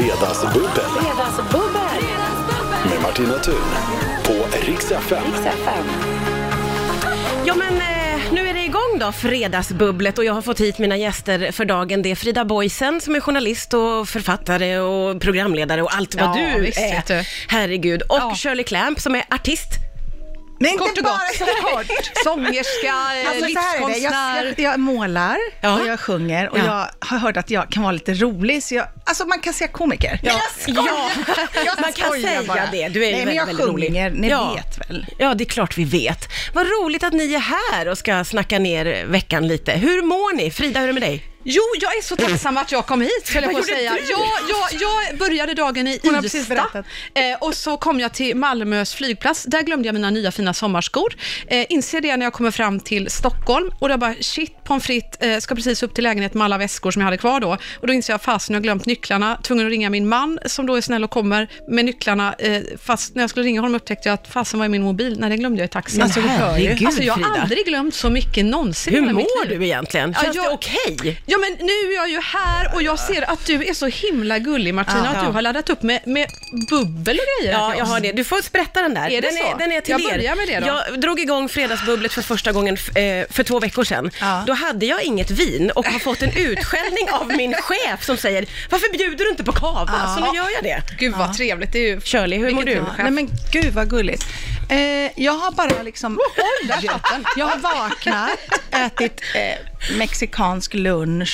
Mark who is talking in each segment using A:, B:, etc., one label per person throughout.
A: Fredagsbubbel
B: Fredagsbubbel!
A: med Martina Thun på Rix FM.
B: Ja men eh, nu är det igång då, Fredagsbubblet och jag har fått hit mina gäster för dagen. Det är Frida Boisen som är journalist och författare och programledare och allt vad
C: Ja,
B: du
C: visst,
B: är.
C: vet du.
B: Herregud. Och
C: Ja.
B: Shirley Clamp som är artist.
D: Nej, inte
C: Kort och
D: bara
C: gott.
D: så kort.
C: Sångerska, eh,
D: Alltså, så här är det.
C: livskonstnär.
D: Jag, jag, jag målar
B: Ja.
D: och jag sjunger och
B: Ja.
D: jag har hört att jag kan vara lite rolig, så jag, alltså man kan säga komiker.
B: Ja, ja.
D: Jag
B: man kan
D: skojar
B: säga
D: bara.
B: det. Du är ju
D: Nej, men
B: väldigt,
D: jag
B: väldigt rolig.
D: sjunger. Ni vet väl?
B: Ja, det är klart vi vet. Vad roligt att ni är här och ska snacka ner veckan lite. Hur mår ni? Frida, hur är det med dig?
C: Jo, jag är så tacksam att jag kom hit, höll jag på att säga. Jag, jag, jag började dagen i
D: Hon har precis
C: Ystad
D: berättat.
C: eh, och så kom jag till Malmös flygplats. Där glömde jag mina nya fina sommarskor. Eh, inser det när jag kommer fram till Stockholm och då bara shit, pommes frites, eh, ska precis upp till lägenheten med alla väskor som jag hade kvar då. Och då inser jag fasen, jag har glömt nycklarna. Tvungen att ringa min man som då är snäll och kommer med nycklarna. Eh, fast när jag skulle ringa honom upptäckte jag att fasen var i min mobil. Nej, den glömde jag i taxin.
B: Men
C: Alltså, du hör ju.
B: herregud,
C: alltså, jag har
B: Frida.
C: aldrig glömt så mycket någonsin i
B: Hur
C: hela mitt
B: mår
C: liv.
B: du egentligen?
C: Ja,
B: Känns det
C: jag-
B: okej?
C: Ja men nu är jag ju här och jag ser att du är så himla gullig Martina,
B: Ja.
C: att du har laddat upp med, med bubbel och grejer. här
B: Ja,
C: till
B: jag
C: oss.
B: har det. Du får sprätta den där.
C: Är det
B: den,
C: så?
B: Är, den är till
C: Jag
B: er.
C: börjar med det då.
B: Jag drog igång Fredagsbubblet för första gången f- eh, för två veckor sedan.
D: Ja.
B: Då hade jag inget vin och har fått en utskällning av min chef som säger “Varför bjuder du inte på kava?” Så nu gör jag det.
C: Gud vad trevligt, det är ju...
B: Shirley, hur mår
C: Vilket
B: du?
C: bra.
D: Ja, nej men gud vad gulligt. Eh, jag har bara liksom, oj, jag har vaknat, ätit eh, mexikansk lunch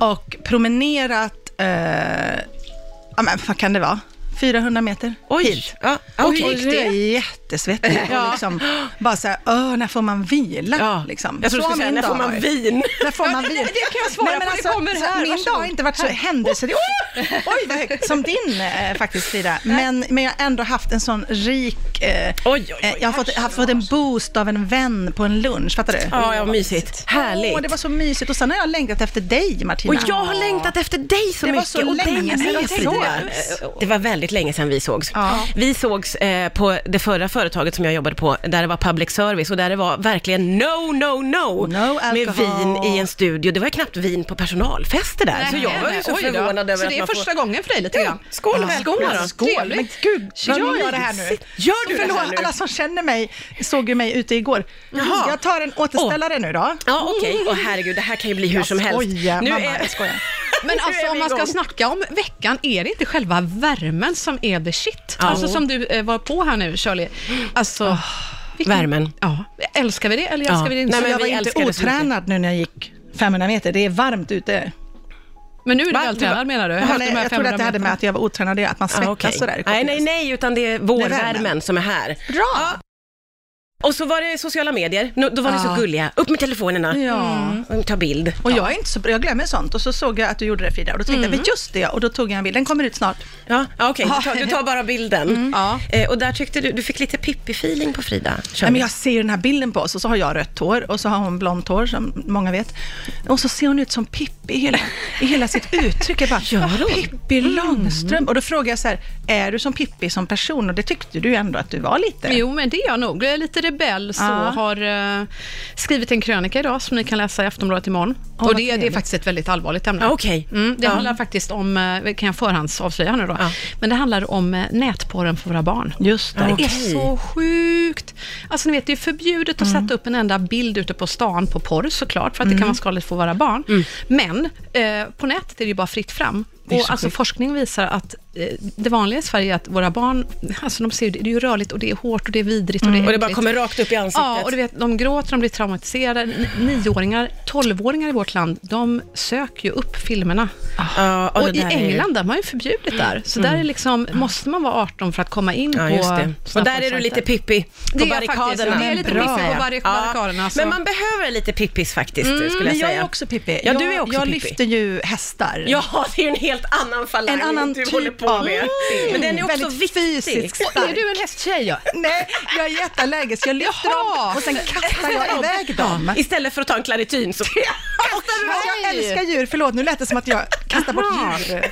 D: och promenerat, eh, ja men vad kan det vara, 400 meter hit.
B: Oj! Ja, ja,
D: Och
B: hur gick
D: jag är
B: det?
D: jättesvettig och liksom bara såhär, öh, när får man vila?
B: Ja.
D: Liksom.
B: Jag trodde du
D: Så har
B: skulle säga
D: min
B: “När får
D: dag
B: man
D: varit.
B: vin?”
D: När får man vila?
C: det kan jag svara
D: men
C: på, det kommer
D: så
C: här,
D: Min
C: varsågod.
D: dag har inte varit så händelserik. Oj, oj vad högt, som din eh, faktiskt Frida. Men, men jag har ändå haft en sån rik... Eh,
B: oj, oj,
D: eh, jag har fått, jag har fått en boost av en vän på en lunch, fattar du?
B: Ja, ja, mysigt. Härligt.
D: Åh, det var så mysigt. Och sen har jag längtat efter dig Martina.
B: Och jag har längtat efter dig så
D: Det var
B: mycket
D: så
B: och dig
D: länge sedan
B: med
D: jag såg.
B: Frida. Det var väldigt länge sedan vi sågs.
D: Ja.
B: Vi sågs eh, på det förra företaget som jag jobbade på, där det var public service och där det var verkligen no, no, no,
D: No
B: med
D: alcohol.
B: vin i en studio. Det var knappt vin på personalfester där, så Alltså, jag var ju så
C: Oj då.
B: förvånad över
C: Så
B: att
C: det är
B: man får...
C: första gången för dig lite grann?
B: skål och välkomna då.
D: Skål, men gud, vad
C: Gör
D: ni gör det här nu.
B: Gör du det
D: Förlåt,
B: här nu?
D: alla som känner mig såg ju mig ute igår.
B: Jaha.
D: Jag tar en återställare nu då.
B: Ja, okej. Åh herregud, det här kan ju bli hur som helst.
D: Skoja,
B: nu
D: mamma,
B: är...
D: jag skojar.
C: Men
B: Nu
C: alltså
B: är
C: om
B: vi
C: man ska
B: igång.
C: snacka om veckan, är det inte själva värmen som är the shit?
B: Ja.
C: Alltså som du eh, var på här nu Shirley. Alltså, vilken-
B: Värmen.
C: Ja, älskar vi det eller älskar
B: Ja.
C: vi det inte?
B: Nej, men
D: jag var
B: vi
D: inte
B: älskar det så mycket.
D: otränad nu när jag gick 500 meter. Det är varmt ute.
C: Men nu är du
D: Va?
C: vältränad menar du?
D: Jag,
C: Efter
D: jag,
C: de här
D: trodde
C: 500
D: att det hade
C: meterna.
D: med att jag var otränad att göra, att man svettas
B: Ah, okej.
D: sådär.
B: Nej, nej, nej, utan det är vårvärmen
D: värmen.
B: som är här.
D: Bra!
B: Och så var det sociala medier. Nu- Då var ni så
D: Ja.
B: gulliga. Upp med telefonerna.
D: Ja.
B: Mm. Ta bild.
D: Och jag, är inte så, bra- jag glömmer sånt och så såg jag att du gjorde det Frida och då
B: Mm.
D: tänkte jag, men just det och då tog jag en bild, den kommer ut snart.
B: Ja, ja okej. Du, tar, du tar bara bilden.
C: Ja.
B: Eh, och där tyckte du, du fick lite Pippi-feeling på Frida. Kör
D: Nej, men
B: vi.
D: jag ser ju den här bilden på oss och så har jag rött hår och så har hon blont hår som många vet. Och så ser hon ut som Pippi i hela, i hela sitt uttryck. Jag bara, Pippi Långstrump. Och då frågar jag så här, är du som Pippi som person? Och det tyckte du ju ändå att du var lite.
C: Jo, men det är jag nog. Jag är lite rebell, så
D: Ja.
C: har eh, skrivit en krönika idag som ni kan läsa i Aftonbladet imorgon.
D: vad
C: och det, det är
D: trevligt.
C: faktiskt ett väldigt allvarligt ämne.
B: Ja, okej.
C: mm, det
B: Ja.
C: handlar faktiskt om, eh, kan jag förhandsavslöja nu då,
B: Ja.
C: men det handlar om eh, nätporren för våra barn.
D: Just det.
B: Ja.
C: Det är
B: Okej.
C: så sjukt. Alltså ni vet, det är förbjudet att
B: Mm.
C: sätta upp en enda bild ute på stan på porr såklart, för att det kan vara skadligt för våra barn.
B: Mm.
C: Men eh, på nätet är det ju bara fritt fram.
D: är
C: Och
D: så
C: alltså,
D: sjukt.
C: forskning visar att eh, det vanliga i Sverige är att våra barn, alltså de ser ju, det är ju rörligt och det är hårt och det är vidrigt och det är
B: Mm. Och det bara
C: äckligt.
B: kommer rakt upp i ansiktet.
C: Ja, och du vet, de gråter, de blir traumatiserade. N- Nioåringar, tolvåringar i vårt land, de söker ju upp filmerna.
B: Ja, och
C: och
B: det
C: i
B: där är ju- Mm.
C: England, där man ju förbjudit där. Så där är liksom, måste man vara 18 för att komma in
B: Ja,
C: på...
B: just det. Och
C: sådana
B: där är du lite
C: porrsajter.
B: Pippi
C: Det
B: på
C: är jag faktiskt.
B: barrikaderna.
C: Det är lite
B: Bra.
C: Pippi på barrik- barrikaderna, Mm, så.
B: Men man behöver lite Pippis faktiskt, skulle jag
D: Men
B: säga.
D: jag är också Pippi.
B: Ja,
D: jag,
B: du är också
D: jag
B: Pippi.
D: lyfter ju hästar.
B: Ja, det är ju en helt annan falang
D: En annan
B: du
D: typ
B: håller på
D: av-
B: med.
D: Mm.
B: Men den är också
D: Väldigt
B: viktig.
D: fysisk.
C: Och är du en hästtjej? Ja?
D: Nej, jag är jätteallergisk. Jag lyfter
C: Jaha.
D: dem och sen kastar jag iväg dem.
B: Istället för att ta en klarityn så...
D: Jag älskar djur. Förlåt, nu lät det som att jag kastar bort djur.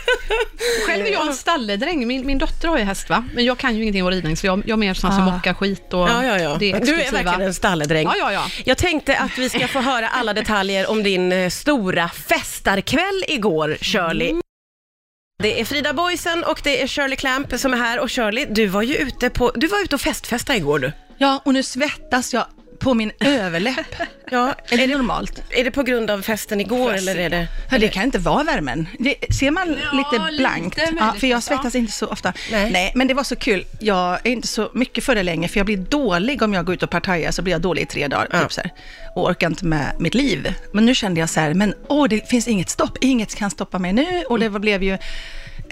C: Själv är jag en stalledräng. Min, min dotter har ju häst, va? men jag kan ju ingenting om ridning, så jag, jag är mer sån som mockar skit och
B: Ah. Ja, ja, ja.
C: det är
B: du är
C: exklusiva.
B: verkligen en stalledräng.
C: Ja, ja, ja.
B: Jag tänkte att vi ska få höra alla detaljer om din eh, stora festarkväll igår, Shirley. Det är Frida Boisen och det är Shirley Clamp som är här. Och Shirley, du var ju ute, på, du var ute och festfesta igår du.
D: Ja, och nu svettas jag på min överläpp.
B: Ja,
D: Är det normalt?
B: är det på grund av festen igår eller är det...
D: Ja, det kan inte vara värmen. Det, ser man lite blankt?
E: lite
D: ja,
E: möjligtvis,
D: för
E: ja.
D: jag svettas inte så ofta.
B: Nej.
D: Nej. men det var så kul. Jag är inte så mycket för det längre, för jag blir dålig om jag går ut och partajar, så blir jag dålig i tre dagar. Typ så här, och orkar inte med mitt liv. Men nu kände jag så här, men åh, det finns inget stopp. Inget kan stoppa mig nu. Och det
B: Mm.
D: var- blev ju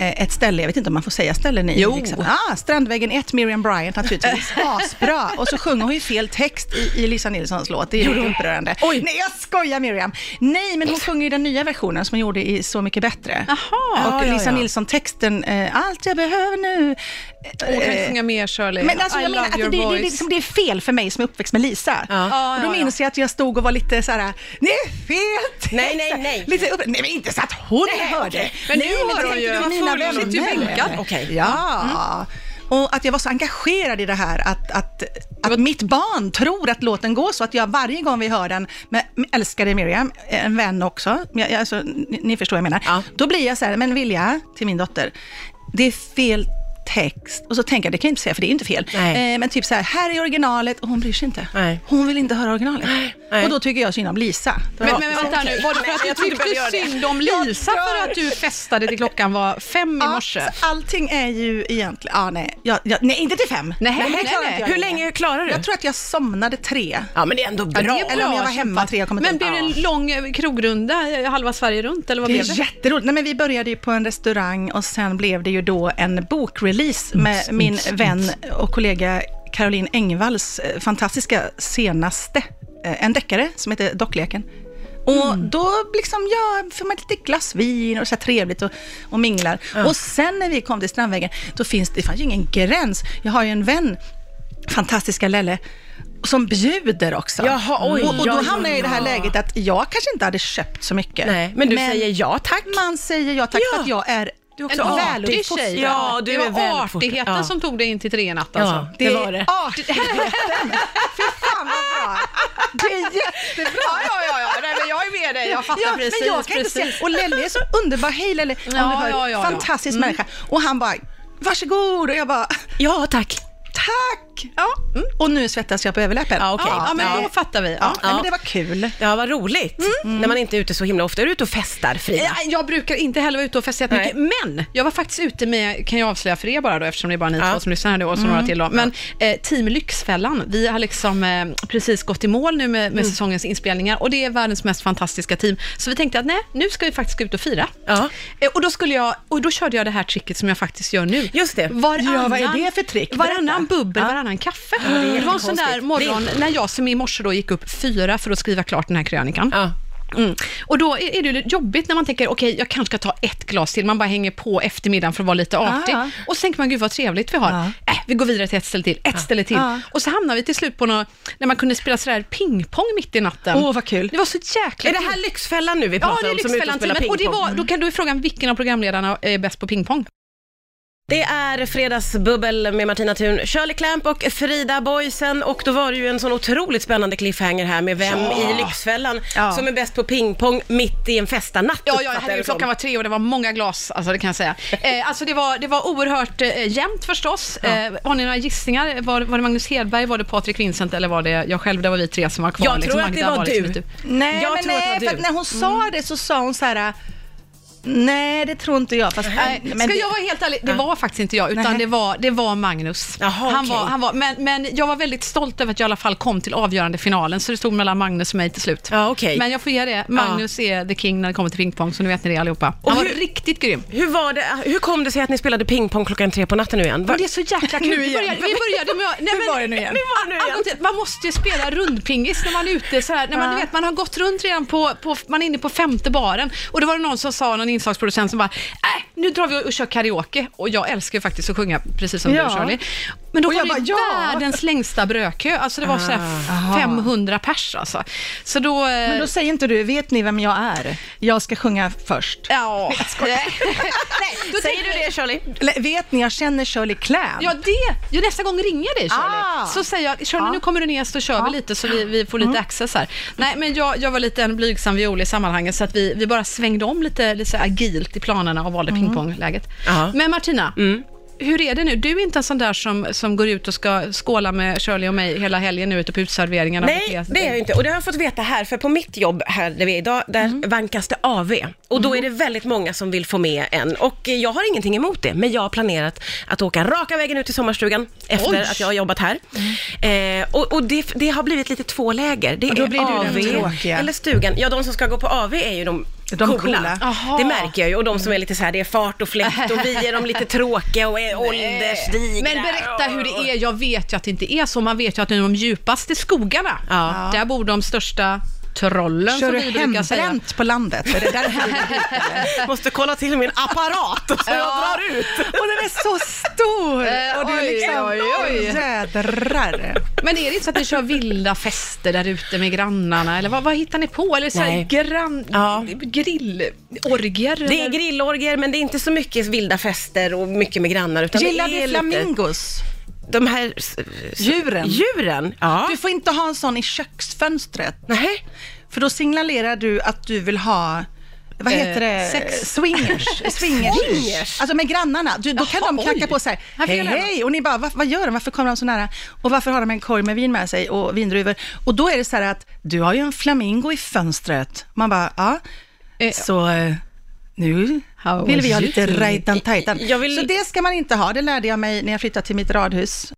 D: eh, ett ställe, jag vet inte om man får säga ställen i.
B: Jo.
D: Liksom. Ah, Strandvägen 1, Miriam Bryant naturligtvis. Asbra! Och så sjunger hon ju fel text i, i Lisa Nilssons låt. Det är ju upprörande.
B: Oj.
D: Nej, jag skojar Miriam. Nej, men hon sjunger ju den nya versionen som hon gjorde i Så mycket bättre.
C: Jaha.
D: Och
B: Ja, ja,
D: Lisa
B: ja.
D: Nilsson-texten, eh, allt jag behöver nu.
C: Hon kan
D: Eh,
C: ju sjunga mer Shirley.
D: men alltså,
C: I
D: jag menar
C: love
D: att det,
C: your
D: det, det,
C: voice.
D: det, liksom, det är fel för mig som är uppväxt med Lisa.
C: Ja,
D: och då
C: ja, ja.
D: minns jag att jag stod och var lite så här, det är fel text."
B: Nej, nej, nej.
D: Lite upp, nej, men inte så att hon hörde.
C: Men
D: nej,
C: nu har
D: det
C: hon
D: tänkte
C: ju-
D: det var
C: hon
D: mina
C: sitter ju
D: vänner.
C: bänkad.
B: Okej.
D: Ja.
B: Mm.
D: Och att jag var så engagerad i det här, att, att, att mitt barn tror att låten går så, att jag varje gång vi hör den, med med älskade Miriam, en vän också, jag, jag- alltså, ni, ni förstår vad jag menar,
B: Ja.
D: då blir jag så här, men Vilja, till min dotter, det är fel text. Och så tänker jag, det kan jag inte säga, för det är inte fel.
B: Nej.
D: Eh, men typ så här, här är originalet, och hon bryr sig inte.
B: Nej.
D: Hon vill inte höra originalet.
B: Nej.
D: Och då tycker jag synd om Lisa.
C: Men, men vänta nu, var det för att du
B: jag tyckte du
C: tyckte
B: behöver göra det.
C: synd om Lisa för att du festade till klockan var fem i
D: Ja,
C: morse?
D: så allting är ju egentligen, ja nej, jag, jag, nej inte till fem.
C: Nej,
D: det
C: nej,
D: klarar
C: nej.
D: inte jag
B: Hur
D: längre.
B: länge klarar du?
D: Jag tror att jag somnade tre.
B: Ja, men det är ändå bra.
C: det är
D: Eller om jag var hemma
C: kämpat.
D: tre, jag kommer inte
C: Men blev
D: ihåg.
C: det en lång eh, krogrunda, eh, halva Sverige runt, eller vad
D: Det
C: blev det?
D: är jätteroligt. Nej, men vi började ju på en restaurang och sen blev det ju då en bokrelease
B: Mm,
D: med min vän och kollega Caroline Engvalls eh, fantastiska senaste, eh, en deckare som heter Dockleken. Och
B: Mm.
D: då liksom, ja, får man lite glassvin och så här trevligt och, och minglar. Och sen när vi kom till Strandvägen, då finns det, det fanns ju ingen gräns. Jag har ju en vän, fantastiska Lelle, som bjuder också.
B: Jaha, oj,
D: och, och då
B: ja, ja,
D: hamnar jag i det här
B: ja.
D: läget att jag kanske inte hade köpt så mycket.
B: Nej, men du säger ja tack.
D: Man säger ja tack
B: Ja.
D: för att jag är
B: Du är också
C: En
B: Ja,
C: artig
D: väluppfostrad.
C: tjej.
B: Ja, du
C: det
B: är
C: var
B: väl
C: artigheten
B: fortfarande- ja.
C: som tog dig in till trean natt alltså.
B: Ja,
D: Det,
B: det var det.
D: är artigheten. Fy fan vad bra. Det är jättebra.
C: Ja, ja, ja, ja. Nej, men jag är med dig. Jag fattar
D: Ja,
C: precis.
D: men jag kan
C: precis.
D: inte se. Och Lelle är så underbar. Hej Lelle. Om
C: Ja,
D: du hör,
C: ja, Mm. ja, ja.
D: fantastisk människa. Och han bara, varsågod. Och jag bara,
B: Ja, tack.
D: tack. Ja. Mm. Och nu svettas jag på överläppen.
B: Ja, okej.
C: Ja, ja, men
B: Ja.
C: då fattar vi. Ja.
D: Ja, Men det var kul.
B: Ja, vad roligt. Mm. När man inte är ute så himla ofta. Är du ute och festar, Frida?
C: Eh, Jag brukar inte heller vara ute och festa
B: Nej.
C: jättemycket, men jag var faktiskt ute med, kan jag avslöja för er bara då, eftersom det är bara ni
B: Ja.
C: två som lyssnar här nu och så några till då, men eh, Team Lyxfällan, vi har liksom eh, precis gått i mål nu med, med säsongens inspelningar och det är världens mest fantastiska team, så vi tänkte att nej, nu ska vi faktiskt gå ut och fira.
B: Ja.
C: Eh, och då skulle jag, och då körde jag det här tricket som jag faktiskt gör nu.
B: Just det.
C: Varannan,
D: Ja, vad är det för trick?
C: Varannan bubbel, varannan kaffe. det, var en sån där
B: jättekonstigt.
C: morgon när jag som i morse då gick upp fyra för att skriva klart den här krönikan.
B: Ja.
C: Mm. Och då är är det ju lite jobbigt när man tänker, okej, jag kanske ska ta ett glas till, man bara hänger på eftermiddagen för att vara lite artig.
B: Ah,
D: Ja.
C: Och sen tänker man, gud vad trevligt vi har. Äh, vi går vidare till ett ställe till, ett ställe till. Och så hamnar vi till slut på något, när man kunde spela sådär pingpong mitt i natten.
D: Åh, vad kul.
C: Det var så jäkla
B: Är det här Lyxfällan nu vi
C: Ja,
B: pratar
C: det är
B: om? som är ute och spelar
C: Lyxfällan-teamet. Och det
B: pingpong?
C: var, då kan du fråga vilken av programledarna är bäst på pingpong?
B: Det är Fredagsbubbel med Martina Thun, Shirley Clamp och Frida Boisen och då var det ju en sån otroligt spännande cliffhanger här med vem i Lyxfällan
D: Ja.
B: som är bäst på pingpong mitt i en festanatt.
C: Ja, ja
B: uppfattar jag
C: herregud,
B: det som.
C: klockan var tre och det var många glas, alltså det kan jag säga. Eh, alltså det var, det var oerhört eh, jämnt förstås. Eh, har ni några gissningar? Var, var det Magnus Hedberg, var det Patrik Vincent eller var det jag själv? Det var vi tre som var kvar.
B: Jag tror att det var
C: liksom
B: du.
C: inte-
D: Nej,
B: Jag
D: men
B: tror att det
D: nej,
B: var
D: för
B: du. Mm.
D: att när hon sa det så sa hon så här, äh, nej det tror inte jag. Fast,
B: Äh,
C: Nej,
D: men
C: Eh, ska
D: det-
C: jag vara helt ärlig, det var faktiskt inte jag, utan
D: Nej.
C: det var, det var Magnus.
B: Jaha,
C: han
B: okej.
C: var, han var, men, men jag var väldigt stolt över att jag i alla fall kom till avgörande finalen, så det stod mellan Magnus och mig till slut.
B: Ja, okej.
C: Men jag får ge det, Magnus är the king när det kommer till pingpong, så nu vet ni det allihopa.
B: Och
C: Han var
B: hur-
C: riktigt grym.
B: Hur, var det, hur kom det sig att ni spelade pingpong klockan tre på natten nu igen? Va-
C: Men det är så jäkla kul.
D: Nu
C: Vi
D: igen.
C: började, vi började med... Nej,
D: Hur var det nu igen?
B: Hur var det nu igen?
C: Allt till- Man måste ju spela rundpingis när man är ute så här. När man, du vet, man har gått runt redan på, på... Man är inne på femte baren och då var det någon som sa, någon inslagsproducent som bara, äh, nu drar vi och kör karaoke. Och jag älskar ju faktiskt att sjunga, precis som
D: Ja.
C: du Shirley. Men då
D: Och
C: var
D: jag
C: det ju
D: bara, ja. Ah,
C: världens längsta brödkö. Alltså det var så här 500 pers alltså. Så då... eh,
D: Men då
B: Äh,
D: säger inte du, vet ni vem jag är? Jag ska sjunga först.
C: Ja, nej. Då
B: Säger du
C: tänker-
B: det Shirley?
D: Eller, Vet ni, jag känner Shirley Clamp.
C: Ja, det. Jo, nästa gång ringer jag dig, Shirley.
D: Ah.
C: Så säger jag, Shirley,
D: Ja.
C: nu kommer du ner så kör
B: Ah.
C: vi lite så vi, vi får
B: Mm.
C: lite access här. Nej, men jag, jag var lite en blygsam viol i sammanhanget så att vi, vi bara svängde om lite, lite så här agilt i planerna och valde pingpongläget.
B: Mm. Ja. Mm.
C: Men Martina, hur är det nu? Du är inte en sån där som, som går ut och ska skåla med Shirley och mig hela helgen nu ute på uteserveringarna?
B: Nej, det är
D: typ.
B: jag inte. Och det har jag fått veta här, för på mitt jobb här där vi är idag, där
D: Mhm.
B: vankas det AV. Och då är det väldigt många som vill få med en. Och eh, jag har ingenting emot det, men jag har planerat att åka raka vägen ut till sommarstugan efter
C: Oj.
B: att jag har jobbat här. Eh, och och det, det har blivit lite två läger. Det
D: Mhm. då
B: är
D: blir du den
B: AV
D: tråkiga.
B: eller stugan. Ja, de som ska gå på AV är ju de
D: De
B: coola.
D: coola. Mm.
C: Aha.
B: Det märker jag ju. Och de som är lite så här, det är fart och fläkt och vi är de lite tråkiga och är åldersdigra.
C: Eh, Men berätta hur det är. Jag vet ju att det inte är så. Man vet ju att det är de djupaste skogarna.
B: Ja.
C: Där bor de största trollen,
D: Kör
C: som
D: du
C: vi brukar säga.
D: hembränt på landet? Är det där
B: Måste kolla till min apparat och så jag
C: Ja.
B: drar ut. Äh,
D: och den är så stor!
C: Eh,
D: och du är
C: oj,
D: liksom,
C: oj, oj.
D: jädrar.
C: Men är det inte så att ni kör vilda fester där ute med grannarna? Eller vad, vad hittar ni på? Eller så här
B: Nej.
C: grann...
B: Ja.
C: grillorgier?
B: Det är
C: eller?
B: grillorger men det är inte så mycket vilda fester och mycket med grannar. Utan
D: Gillar
B: det är
D: du
B: lite-
D: flamingos?
B: De här... s- s-
D: Djuren?
B: Djuren? Ja.
D: Du får inte ha en sån i köksfönstret.
B: Nej.
D: För då signalerar du att du vill ha vad
C: Eh,
D: heter det?
C: sex.
D: Swingers. Swingers.
B: Swingers?
D: Alltså med grannarna. Du, då kan
C: Jaha,
D: de knacka
C: oj.
D: på så här,
C: Här fick
D: hej
C: jag lära mig.
D: hej, och ni bara, vad, vad gör de? Varför kommer de så nära? Och varför har de en korg med vin med sig och vindruvor? Och då är det så här att, du har ju en flamingo i fönstret. Man bara, ja.
C: Eh,
D: Så eh, nu
C: How
D: vill vi ha
C: was
D: lite
C: you?
D: rajtan tajtan.
B: Jag vill-
D: Så det ska man inte ha, det lärde jag mig när jag flyttade till mitt radhus.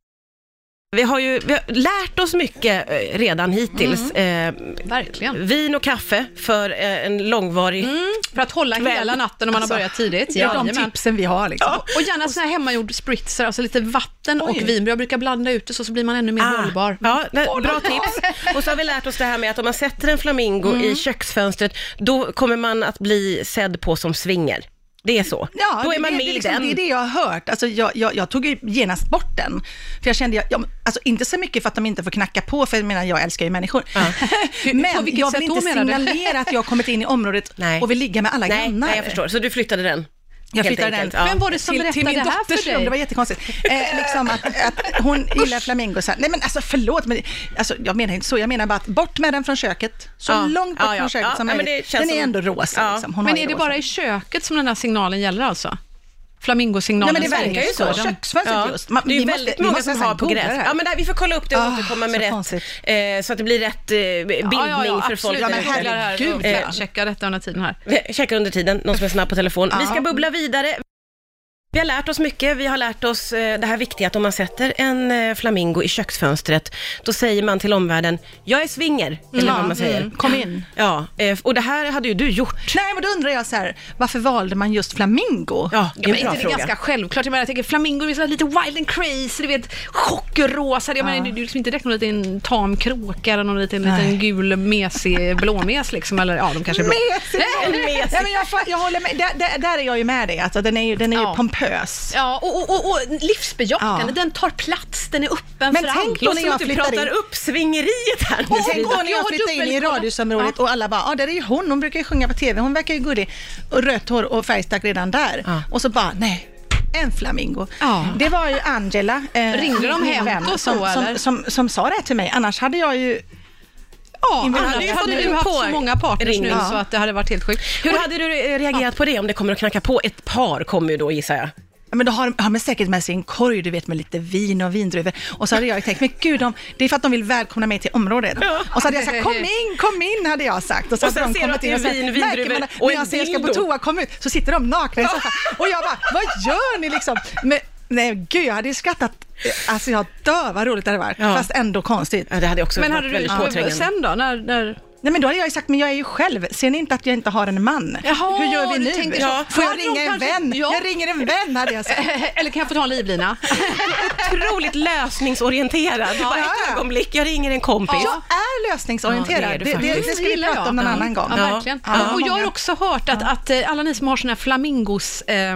B: Vi har ju vi har lärt oss mycket eh, redan hittills.
D: Mm.
B: Eh,
C: Verkligen.
B: vin och kaffe för eh, en långvarig...
D: Mm.
C: För att hålla
B: Kväll.
C: hela natten om man
D: Alltså.
C: har börjat tidigt.
D: Det är de
C: Jajamän.
D: tipsen vi har liksom.
C: Och gärna sån här hemmagjord spritzer, alltså lite vatten
D: Oj.
C: och vin. Jag brukar blanda ut det så, så blir man ännu mer
B: Ah,
C: hållbar.
B: Ja, det- bra tips. Och så har vi lärt oss det här med att om man sätter en flamingo
D: Mm.
B: i köksfönstret, då kommer man att bli sedd på som swinger. Det är så.
D: Ja,
B: då är
D: det-
B: man
D: det,
B: med
D: det,
B: i
D: liksom,
B: den.
D: Det är det jag har hört. Alltså, jag, jag, jag tog ju genast bort den. För jag kände, jag, jag, alltså, inte så mycket för att de inte får knacka på, för jag menar, jag älskar ju människor.
C: På
D: Men
C: vilket
D: jag
C: sätt
D: vill inte
C: då, menar du?
D: signalera att jag har kommit in i området
B: Nej.
D: och vill ligga med alla
B: nej,
D: grannar.
B: nej, jag förstår. Så du flyttade den?
D: Jag
B: helt
D: flyttade den.
B: enkelt. Ja.
C: Vem var det som
D: till, till min
C: berättade det här
D: dotters
C: för dig?
D: rum, det var jättekonstigt. Eh, liksom att, att hon gillar flamingosar. Nej men alltså förlåt, men, alltså, jag menar inte så, jag menar bara att bort med den från köket. Så
B: Ja.
D: långt bort
B: Ja, ja.
D: från köket
B: Ja,
D: som
B: ja, men
D: möjligt.
B: det känns
D: Den är
B: som-
D: ändå rosa.
B: Ja.
D: Liksom. Hon
C: Men
D: har
C: är
D: ju
C: det
D: rosa.
C: bara i köket som den här signalen gäller alltså? Flamingo-signalen?
D: Nej, men det
C: som
D: verkar ju
C: hänger
D: så.
C: i skogen.
D: Köksfönstret just. Man-
B: det är
D: vi
B: ju
D: måste-
B: väldigt
D: vi
B: många
D: måste
B: som
D: nästan
B: har på
D: googla det
B: gräs.
D: här.
B: Ja, men där, vi får kolla upp det och
D: Ah,
B: återkomma
D: så
B: med rätt,
D: konstigt.
B: eh, så att det blir rätt eh, bildning
C: Ja, ja, ja,
B: för folk.
C: absolut.
D: Ja, men
C: Jag kollar här
D: herregud.
C: och
B: Eh.
C: Checka detta under tiden här.
B: Vi Checkar under tiden, någon som är snabb på telefon. Vi ska bubbla vidare. Vi har lärt oss mycket. Vi har lärt oss eh, det här viktiga att om man sätter en eh, flamingo i köksfönstret, då säger man till omvärlden, jag är swinger, eller vad man säger.
D: Mm, Kom in.
B: Ja, eh, och det här hade ju du gjort.
D: Nej, men då undrar jag så här, varför valde man just flamingo?
B: Ja, det är
C: Ja, men
B: en
C: är
B: bra
C: inte det
B: fråga.
C: ganska självklart? Jag menar, jag tänker flamingor är så här lite wild and crazy, du vet, chockrosa. Jag menar, det är ju liksom inte direkt någon liten tam kråka eller någon liten, liten
D: Nej.
C: gul mesig blåmes liksom. Eller ja, de kanske är blå.
D: Mesig!
B: Mesig.
D: Nej, men jag, fa- jag håller med. Där, där, där är jag ju med dig, alltså, den är ju, den är ju
C: Ja.
D: pompös.
C: Ja, och, och, och, och livsbejakande.
D: Ja.
C: Den tar plats, den är öppen
D: Men
C: för
D: tänk
C: allt.
D: då
B: Låter
D: när
B: som
D: jag
B: att du
D: flyttar
B: pratar
D: in.
B: upp svingeriet här nu.
D: Och tänk då när
C: Jag har
D: jag flyttade in i
C: dubbelkollat.
D: radhusområdet och alla bara, ja ah, där är ju hon, hon brukar ju sjunga på TV, hon verkar ju gullig. Och rött hår och färgstark redan där.
B: Ja.
D: Och så bara, nej. En flamingo.
C: Ja.
D: Det var ju Angela, eh,
C: Ringde de
D: min
C: hem
D: vän,
C: då så,
D: som,
C: eller?
D: som, som, som sa det här till mig. Annars hade jag ju
C: Ja,
D: Ingen
C: annars
D: hade ju
C: hade
D: fått
C: du
D: in
C: haft
B: på
C: så många partners nu
B: ringen.
C: så att det hade varit helt sjukt.
B: Hur hade du eh, reagerat på det om det kommer att knacka på? Ett par kommer ju då gissar jag.
D: Ja, men då har de har man säkert med sig en korg, du vet, med lite vin och vindruvor. Och så hade jag tänkt, men gud, de, det är för att de vill välkomna mig till området.
B: Ja.
D: Och så hade jag sagt, kom in, kom in, hade jag sagt.
B: Och sen
D: hade
B: ser du att det är
D: och sagt,
B: vin,
D: "Nej,
B: vindruvor
D: men
B: och
D: När
B: en
D: jag säger jag ska på
B: dildo."
D: toa, kom ut, så sitter de nakna i soffan. Och jag bara, vad gör ni liksom? Men, nej, gud, jag hade ju skrattat. Alltså jag dör, vad roligt det hade varit.
B: Ja.
D: Fast ändå konstigt.
B: Ja, det hade också
C: Men
B: varit
C: hade du,
B: väldigt påträngande.
C: sen då? När, när...
D: Nej, men då hade jag ju sagt, men jag är ju själv. Ser ni inte att jag inte har en man?
C: Jaha,
D: Hur gör vi
C: du
D: nu?
C: tänker så.
D: Får jag
C: Ja,
D: ringa
C: då
D: en
C: kanske-
D: vän?
C: ja.
D: Jag ringer en vän, hade jag sagt.
C: Eller kan jag få ta en livlina?
B: otroligt lösningsorienterad. Du bara,
D: Ja.
B: ett ögonblick, jag ringer en kompis.
D: Jag är lösningsorienterad.
B: Ja, det är du
D: det, det, det,
B: faktiskt.
D: ska vi
C: gillar
D: prata
C: jag.
D: om någon
C: Ja.
D: annan gång.
C: Mm. Ja,
B: Ja.
C: verkligen.
D: Ja.
C: Och jag har också hört att, att eh, alla ni som har såna här flamingos eh,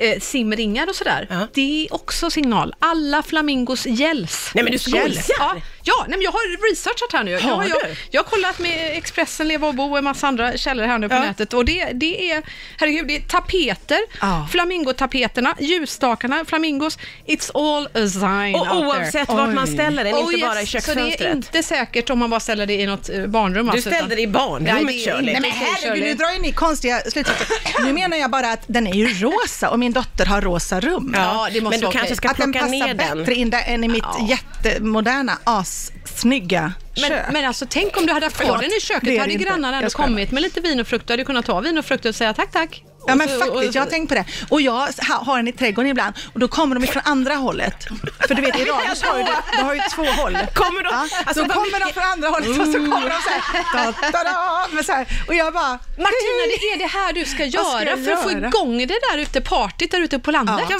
C: eh, simringar och sådär,
B: Ja.
C: det är också signal. Alla flamingos gälls.
B: Nej, men du skojar.
C: Gälls. Ja. Ja, nej, men jag har researchat här nu.
B: Har
C: jag, har, jag,
B: du?
C: jag har kollat med Expressen, Leva och Bo och en massa andra källor här nu på
B: Ja.
C: nätet. Och det, det är, herregud, det är tapeter,
D: Ja.
C: flamingotapeterna, ljusstakarna, flamingos. It's all a sign
B: Och
C: out there.
B: oavsett vart man ställer den,
C: Oh
B: inte bara i
C: yes, Så det är
B: köksfönstret.
C: inte säkert om man bara ställer det i något eh, barnrum.
B: Du
C: alltså,
B: ställde
C: utan-
B: det i
C: Nej, det
B: barnrummet
C: är
B: Shirley.
C: inte-
D: Nej men
C: Okej,
D: herregud,
C: Shirley.
D: nu drar ju ni konstiga slutsatser. Nu menar jag bara att den är ju rosa och min dotter har rosa rum.
C: Ja, det måste
B: men du
C: vara
B: kanske
C: okej.
B: ska
D: att den
B: plocka
D: passar
B: ner den.
D: bättre in där än i mitt
C: Ja.
D: jättemoderna, assnygga kök.
C: Men, men alltså tänk om du hade haft kvar
D: Förlåt,
C: den i
D: det är
C: köket,
D: det
C: hade
D: inte.
C: grannarna ändå
D: Jag skojar bara.
C: kommit med lite vin och frukt, du hade kunnat ta vin och frukt och säga tack, tack.
D: Ja
C: Och
D: men
C: så- och-
D: faktiskt, jag har tänkt på det. Och jag ha- har den i trädgården ibland och då kommer de ifrån andra hållet. För du vet i radhus har ju det, det har ju två håll.
B: Kommer de-
D: Ja,
B: alltså,
D: då
B: vad
D: kommer de från andra hållet och så
C: Mm.
D: kommer de så här, da, da, da, men så här. Och jag bara,
C: Martina, det är det här du ska
D: Vad
C: göra
D: ska jag
C: för att få
D: göra?
C: igång det där ute, partyt där ute på landet.
D: Ja.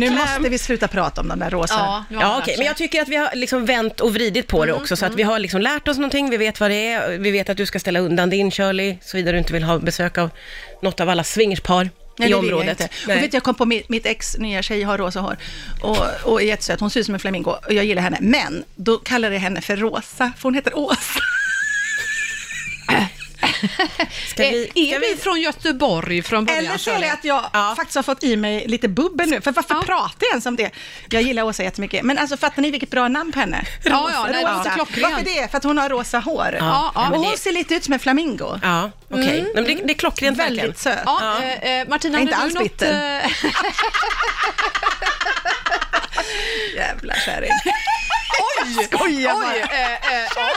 D: nu måste vi sluta prata om de där rosa.
C: Ja, nu har man
B: Ja,
C: lärt
B: okej,
C: sig.
B: men jag tycker att vi har liksom vänt och vridit på det också, så att vi har liksom lärt oss någonting, vi vet vad det är, vi vet att du ska ställa undan din Shirley, såvida du inte vill ha besök av något av alla swingerspar
D: Nej,
B: i
D: det vill
B: området.
D: Jag, inte.
B: Nej.
D: Och vet, du, jag kom på mitt, mitt ex nya tjej har rosa hår och, och är jättesöt. Hon ser ut som en flamingo och jag gillar henne. Men då kallar jag henne för Rosa, för hon heter Åsa.
B: Ska
C: Eh,
B: vi-
C: är du från Göteborg från början?
D: Eller så är
C: Shirley?
D: det att jag
B: Ja.
D: faktiskt har fått i mig lite bubbel nu. För varför
C: Ja.
D: pratar jag ens om det? Jag gillar Åsa jättemycket. Men alltså fattar ni vilket bra namn på henne?
C: Ja, ja, nej, det var
D: Rosa.
C: så klockrent.
D: Varför det? För att hon har rosa hår.
C: Ja, ja,
D: och
C: men
D: hon
C: det-
D: ser lite ut som en flamingo.
B: Ja, okej. Nej, men Det, det är klockrent verkligen.
D: Väldigt söt.
C: Ja, eh, eh, Martina,
D: Jag är inte
C: hade
D: alls
C: du något,
D: bitter.
C: eh,
D: Jävla kärring. Oj! Skojar bara.
C: Oj, eh, eh, ja.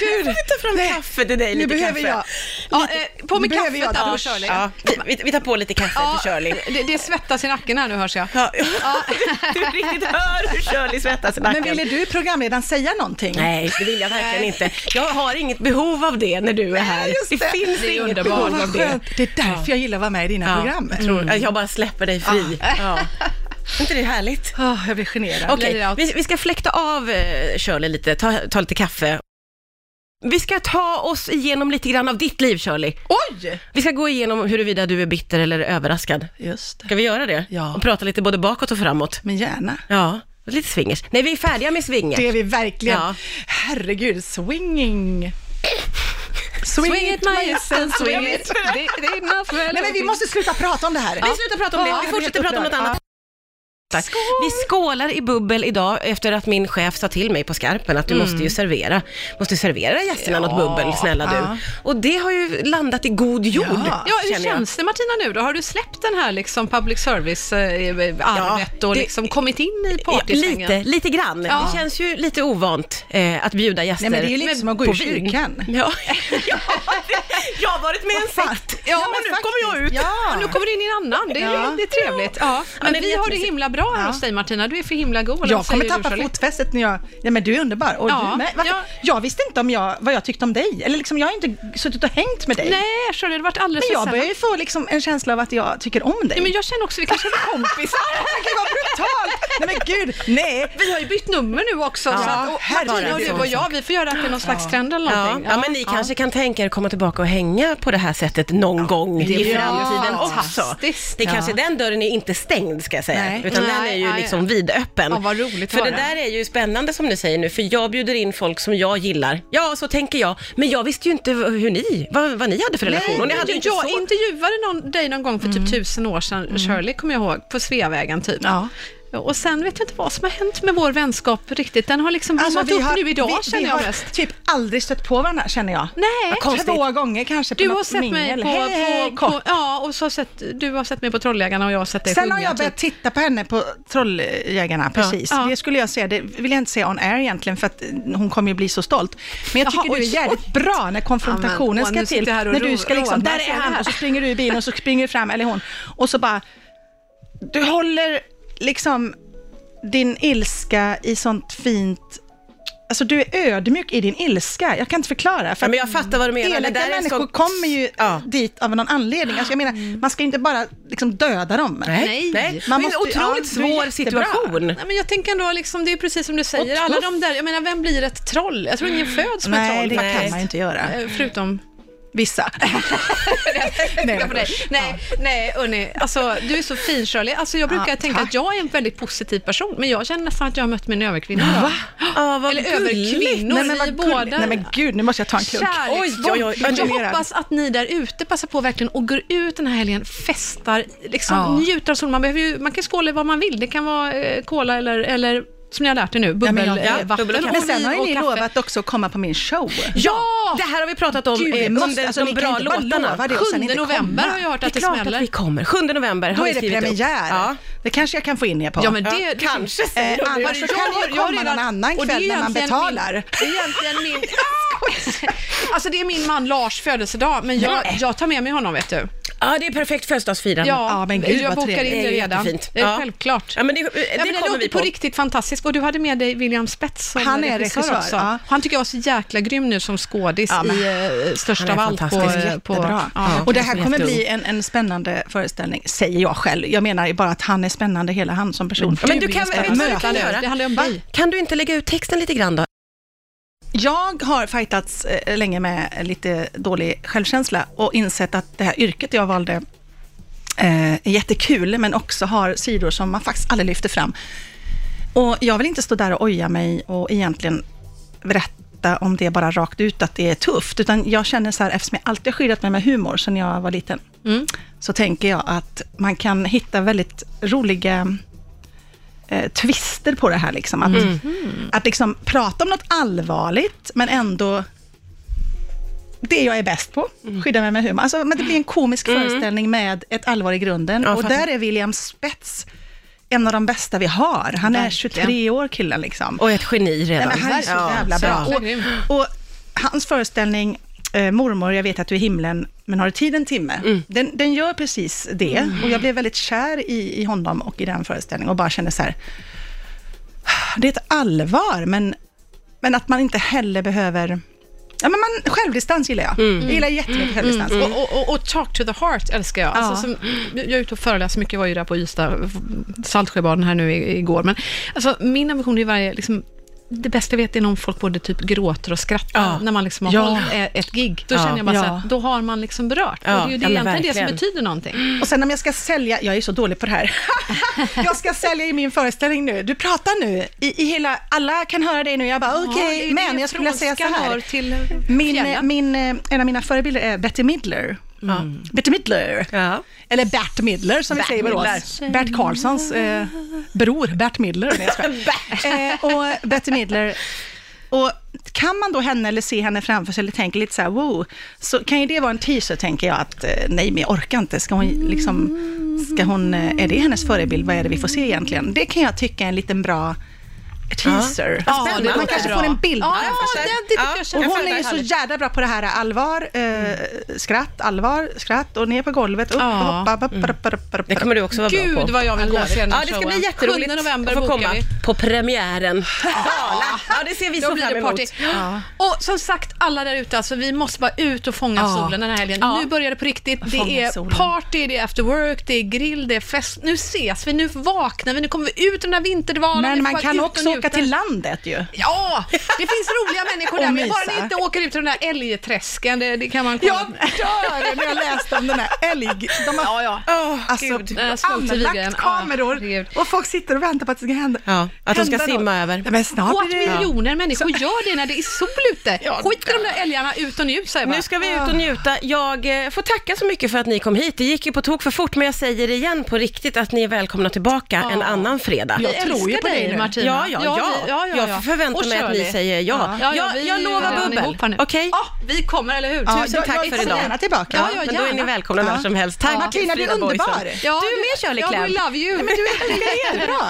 B: Gud. Jag tar fram kaffe till dig,
D: Nu
B: lite
D: behöver
B: kaffe.
D: jag...
C: Ja, eh, på med
D: Behöver
C: kaffet
D: jag
C: där
D: det?
C: då, Shirley.
B: Ja, vi- vi, vi tar på lite kaffe
C: Ja,
B: till Shirley.
C: det, det svettas i nacken här nu hörs jag.
B: Ja. du riktigt hör hur Shirley svettas i nacken.
D: Men ville du programledaren säga någonting?
B: Nej, det vill jag verkligen
C: Nej.
B: inte. Jag har inget behov av det när du är här.
D: just
B: det.
D: det.
B: finns
C: Det är
B: inget
C: underbart.
B: behov
D: Åh,
B: av
D: vad
B: det.
D: skönt. Det är därför jag gillar att vara med i dina
B: Ja,
D: program.
B: jag tror-
C: Mm.
B: Jag bara släpper dig fri. Ja. Är inte det härligt?
D: Åh, Ah, jag blir generad.
B: Okej,
C: blir det allt.
B: vi, vi ska fläkta av eh, Shirley lite, ta, ta lite kaffe. Vi ska ta oss igenom lite grann av ditt liv, Shirley.
D: Oj!
B: Vi ska gå igenom huruvida du är bitter eller överraskad.
D: Just det.
B: Ska vi göra det?
D: Ja.
B: Och prata lite både bakåt och framåt.
D: Men gärna.
B: Ja, och lite swingers. Nej, vi är färdiga med swingers.
D: Det är vi verkligen.
B: Ja.
D: Herregud, swinging.
C: Swing it my ass and swing it. Det, det är enough.
D: Nej men vi måste sluta prata om det här.
B: Vi slutar prata om det,
D: Ja,
B: vi
D: jag
B: fortsätter
D: blir
B: prata om något
D: helt
B: annat. Vi skålar i bubbel idag efter att min chef sa till mig på skarpen att du
D: Mm.
B: måste ju servera, måste servera gästerna något bubbel, snälla du.
D: Ja.
B: Och det har ju landat i god jord.
D: Ja.
C: Ja, hur
B: känner jag.
C: känns det Martina nu då? Har du släppt den här liksom public service-arvet
B: Ja,
C: och
B: det-
C: liksom kommit in i
B: Ja,
C: partysvängen?
B: lite, lite grann.
C: Ja.
B: Det känns ju lite ovant eh, att bjuden gäster
D: Nej, men det är ju lite som att gå
B: på
D: ur
B: vin.
D: kyrkan.
B: Ja. jag har varit med i en
D: fan?
B: sekt. Ja, men nu kommer jag ut.
D: Ja.
C: Nu kommer det in i en annan, det är,
D: Ja.
C: det är trevligt. Ja. Men
B: nej, det
C: vi
B: är
C: har det
B: jättemysigt.
C: himla bra här
D: Ja.
C: hos dig Martina, du är för himla god. Vad
D: Jag kommer
C: säger du,
D: tappa
C: Shirley?
D: fotfästet när jag... Nej men du är underbar. Och
C: Ja.
D: du med. Varför-
C: Ja.
D: Jag visste inte om jag, vad jag tyckte om dig. Eller liksom, jag har inte suttit och hängt med dig.
C: Nej, Shirley, det har varit alldeles
D: Men
C: för
D: jag
C: sällan.
D: börjar ju få liksom en känsla av att jag tycker om dig.
C: Nej, men jag känner också, vi kanske är kompisar.
D: Gud vad brutalt! Nej men gud, nej!
C: Vi har ju bytt nummer nu också. så att, och Martina
D: herregud.
C: och du och jag, vi får göra det till någon slags trend eller
B: Ja.
C: någonting.
B: ja, men ni kanske kan tänka er att komma tillbaka och hänga på det här sättet någon gång
C: det
B: i
C: vore
B: framtiden
C: ju
B: också.
C: fantastiskt.
B: Det är kanske den dörren är inte stängd ska jag säga,
D: Nej.
B: utan den
C: Nej,
B: är ju
C: nej.
B: liksom vidöppen.
C: Ja, vad roligt att
B: För det
C: höra.
B: där är ju spännande som ni säger nu, för jag bjuder in folk som jag gillar. Ja, så tänker jag, men jag visste ju inte hur ni, vad, vad ni hade för relation. och ni hade ju inte
C: jag
B: så...
C: intervjuade någon, dig någon gång för typ tusen år sedan, Shirley, kommer jag ihåg, på Sveavägen typ.
D: Mm. Ja.
C: Och sen vet jag inte vad som har hänt med vår vänskap riktigt. Den har liksom blommat upp nu idag,
D: Alltså, vi,
C: känner
D: vi
C: jag
D: har
C: mest.
D: typ aldrig stött på varandra känner jag.
C: Nej.
B: Vad konstigt.
D: Två gånger kanske på
C: Du
D: något
C: har sett mig
D: mingel.
C: på,
D: Hej, hej,
C: på,
D: kort.
C: på, ja, och så har sett, du har sett mig på Trolljägarna och jag har sett dig
D: Sen
C: sjunga,
D: har jag börjat
C: typ.
D: titta på henne på Trolljägarna, precis.
C: Ja.
D: Det skulle jag säga, det vill jag inte säga on air egentligen, för att eh, hon kommer ju bli så stolt. Men jag
C: Jaha,
D: tycker du är
C: oj,
D: jävligt bra när
C: Ja, men,
D: konfrontationen
C: åh, nu
D: ska till.
C: sitter jag här och
D: När
C: ro-
D: du ska liksom,
C: rånar
D: där
C: sig
D: är
C: här.
D: han, och så springer du i bilen och så springer du fram, eller hon, och så bara, du håller liksom din ilska i sånt fint Alltså du är ödmjuk i din ilska, jag kan inte förklara. För
B: Ja, men
D: att
B: jag fattar vad du menar.
D: Elaka
B: Det där är en
D: människor
B: sån-
D: kommer ju
B: Ja.
D: dit av någon anledning. Alltså jag menar, man ska ju inte bara liksom döda dem.
B: Nej,
C: Nej.
B: nej.
D: Man
B: det är en
D: måste-
B: otroligt
D: ja, du är
B: svår
D: jättebra.
B: situation.
C: Nej, men jag tänker ändå, liksom, det är precis som du säger,
D: Och
C: alla
D: tuff.
C: de där, jag menar vem blir ett troll? Jag tror ingen föds med
D: Nej,
C: troll
D: det kan
C: faktiskt.
D: man ju inte göra.
C: Eh, Förutom
D: Vissa.
C: nej, på dig. nej, nej Unni, alltså, du är så fin Shirley. Alltså, jag brukar
D: Ja,
C: tänka
D: tack.
C: att jag är en väldigt positiv person, men jag känner nästan att jag har mött min överkvinna.
B: Ja, vad
C: Eller överkvinnor,
D: Nej, men
C: vi
D: vad gulligt.
C: båda.
D: Nej men gud, nu måste jag ta en klunk.
C: Kärleksfull.
B: Oj, oj, oj, vad
C: jag
D: generad.
C: hoppas att ni där ute passar på verkligen och går ut den här helgen, festar, liksom,
D: Ja.
C: njuter av solen. Man, behöver ju, man kan skåla i vad man vill. Det kan vara eh, cola eller, eller som ni har lärt er nu,
D: men
C: bubbel,
D: jag-
C: eh,
D: ja,
C: vatten
B: bubbel och
C: och
B: kaffe.
D: Men sen
C: vin
D: har ju
C: och
D: ni
C: kaffe.
D: lovat också att komma på min show.
B: Ja! Det här har vi pratat om
D: Gud,
B: eh,
D: måste-
B: under
D: alltså,
B: de
D: ni kan
B: bra
D: inte bara
B: låtarna.
D: lova det och sen
C: 7
D: inte
C: november
D: komma.
C: har jag hört
B: Det är
C: att det,
B: klart
C: smäller.
B: att vi kommer. 7 november har
D: Då
B: vi
D: är det
B: skrivit upp.
D: premiär.
B: Ja.
D: Det kanske jag kan få in er på.
C: Ja, men det,
B: Kanske
D: Eh,
B: säger du.
D: annars så
C: Jag-
D: kan jag,
C: jag har
D: komma
C: redan-
D: någon annan
C: och det är
D: kväll när man
C: egentligen
D: betalar.
C: Min, det är egentligen min... alltså det är min man Lars födelsedag, men jag, jag tar med mig honom vet du.
B: Ja, det är perfekt födelsedagsfirande.
D: Ja, men gud,
C: jag
D: vad
C: bokar
D: trevligt.
C: in det
B: Det är
C: redan.
B: jättefint.
C: Det är
B: Ja.
C: Självklart.
B: Ja, men det, det
C: Ja, men det
B: kommer
C: låter
B: vi på.
C: på riktigt fantastiskt och du hade med dig William Spets som
D: Han är regissör,
C: också.
D: ja.
C: Han tycker jag var så jäkla grym nu som skådis
D: Ja, men-
C: i eh, Största
B: Han
C: av
B: är
C: allt. På,
B: fantastisk.
C: eh, på,
D: Jättebra.
C: ja.
D: och det här
B: som är
D: kommer
B: jätteung.
D: bli en, en spännande föreställning, säger jag själv. Jag menar ju bara att han är spännande, hela han som person.
B: Ja, men du kan,
D: Mm. är
B: vet du vad du kan
D: spännande.
B: göra?
C: Det handlar om
D: Va?
C: dig.
B: Kan du inte lägga ut texten lite grann då?
D: Jag har fightats eh, länge med lite dålig självkänsla och insett att det här yrket jag valde eh, är jättekul, men också har sidor som man faktiskt aldrig lyfter fram. Och jag vill inte stå där och oja mig och egentligen berätta om det bara rakt ut, att det är tufft, utan jag känner så här, eftersom jag alltid har skyddat mig med humor sedan jag var liten, så tänker jag att man kan hitta väldigt roliga eh, twister på det här. Liksom. Att, att liksom prata om något allvarligt, men ändå det jag är bäst på, skydda mig med humor. Alltså, men det blir en komisk föreställning med ett allvar i grunden. och
B: fattar.
D: där är William Spets en av de bästa vi har. Han är 23 år killen liksom.
B: Och ett geni
D: Nej,
B: redan.
D: men han är så
B: Ja,
D: jävla bra.
C: så grym.
D: Och, och hans föreställning eh, Mormor, jag vet att du är i himlen, men har du tid en timme?
B: Mm.
D: Den, den gör precis det. Och jag blev väldigt kär i, i honom och i den föreställningen och bara kände så här, det är ett allvar, men, men att man inte heller behöver... Ja, men man, självdistans gillar jag.
B: Mm.
D: Jag gillar jättemycket självdistans. Och,
C: Och, och, och Talk to the Heart älskar jag. Alltså, som, jag är ute och föreläser mycket, var ju där på Ystad, Saltsjöbaden här nu i- igår. Men alltså, min ambition är varje, liksom, det bästa jag vet är när folk både typ gråter och skrattar
B: Ja.
C: när man liksom har
B: Ja.
C: hållit eh, ett gig. Då
B: Ja.
C: känner jag bara
D: Ja.
C: så här, då har man liksom berört.
B: Ja,
C: Och det är ju det,
B: ja, men
C: egentligen det som
B: verkligen.
C: betyder någonting.
D: Och sen om jag ska sälja, jag är så dålig på det här. jag ska sälja i min föreställning nu. Du pratar nu, i, i hela, alla kan höra dig nu. Jag bara okej,
C: det är ju
D: men
C: det
D: jag skulle vilja säga så
C: från Skanör
D: här.
C: till
D: Min, eh,
C: fjällen.
D: min, eh, en av mina förebilder är Betty Midler. Mm. Betty Midler.
B: Ja.
D: Eller Bert Midler som vi säger i Borås. Bert Karlssons eh, bror, Bert Midler. Nej, jag skojar. eh, och Betty Midler. Och kan man då henne eller se henne framför sig eller tänka lite så här, wow, så kan ju det vara en teaser tänker jag att eh, nej, men jag orkar inte. Ska hon liksom, ska hon, eh, är det hennes förebild? Vad är det vi får se egentligen? Det kan jag tycka är en liten bra teaser.
C: Ja,
D: Spännande.
C: det låter
D: man kanske
C: bra.
D: får en bild.
C: Ja,
B: jag
C: den,
B: förstår.
C: det tycker
B: Ja.
C: jag
D: Och
C: känner.
D: hon är ju så jädra bra på det här allvar, eh, skratt, allvar, skratt och ner på golvet, upp och
C: Ja.
D: hoppa. upp, upp, upp, upp, upp.
B: Det kommer du också vara bra på.
C: Gud vad jag vill gå och se den
B: Ja,
C: här
B: det ska
C: showen.
B: bli jätteroligt
C: 7 november
B: att få
C: bokar
B: komma
C: vi.
B: på premiären. Dala. Ja, det ser vi så
C: Då blir
B: fram
C: det
B: emot.
C: party. Och som sagt, alla där ute, alltså, vi måste bara ut och fånga
B: Ja.
C: solen den här helgen.
B: Ja.
C: Nu börjar det på riktigt. Det
D: Fånga
C: är
D: solen.
C: party, det är after work, det är grill, det är fest. Nu ses vi, nu vaknar vi, nu kommer vi ut ur den här vinterdvalen. Vi
D: Men man
C: bara
D: kan
C: ut och
D: också åka
C: njuta.
D: till landet ju.
C: Ja, det finns roliga människor
D: Och
C: där, men bara
D: mysa.
C: ni inte åker ut ur den där älgträsken, det, det kan man kolla.
D: Jag dör när jag läste om den här älg... De har,
C: Ja, ja.
D: Åh, alltså,
B: Gud.
C: Jag slog till ligan.
D: anlagt
C: Ja,
D: kameror
C: herregud.
D: och folk sitter och väntar på att det ska hända.
B: Ja, att de ska
D: hända något.
B: simma över.
D: Nej, Men snart
C: Och att
D: blir det...
C: miljoner människor gör det när det är sol ute. Skit i de där älgarna, ut och njut säger jag bara.
B: Nu ska vi ut och njuta. Jag eh, får tacka så mycket för att ni kom hit. Det gick ju på tok för fort, men jag säger det igen på riktigt att ni är välkomna tillbaka en annan fredag.
C: Vi
D: Jag tror
C: älskar
D: ju på dig nu.
C: Martina.
B: Ja, ja, ja.
C: vi- ja, ja, ja.
B: Jag förväntar
C: Och
B: mig att
C: Shirley.
B: ni säger ja.
C: Ja, ja,
B: jag,
C: vi
B: jag
C: är redan
B: lovar bubbel.
C: ihop här nu.
B: Okej?
C: Ja, vi kommer, eller hur?
D: Ja,
B: Tusen
D: jag-
B: tack
D: jag
B: för
D: kommer
B: idag.
D: gärna tillbaka.
C: Ja, ja,
B: men då är ni
C: gärna.
B: välkomna när
D: Ja.
B: som helst. Tack
D: Martina, du är
B: Frida Boyson.
D: underbar.
B: du med Shirley
C: Ja,
B: Clamp.
C: we love you.
D: Det är jättebra.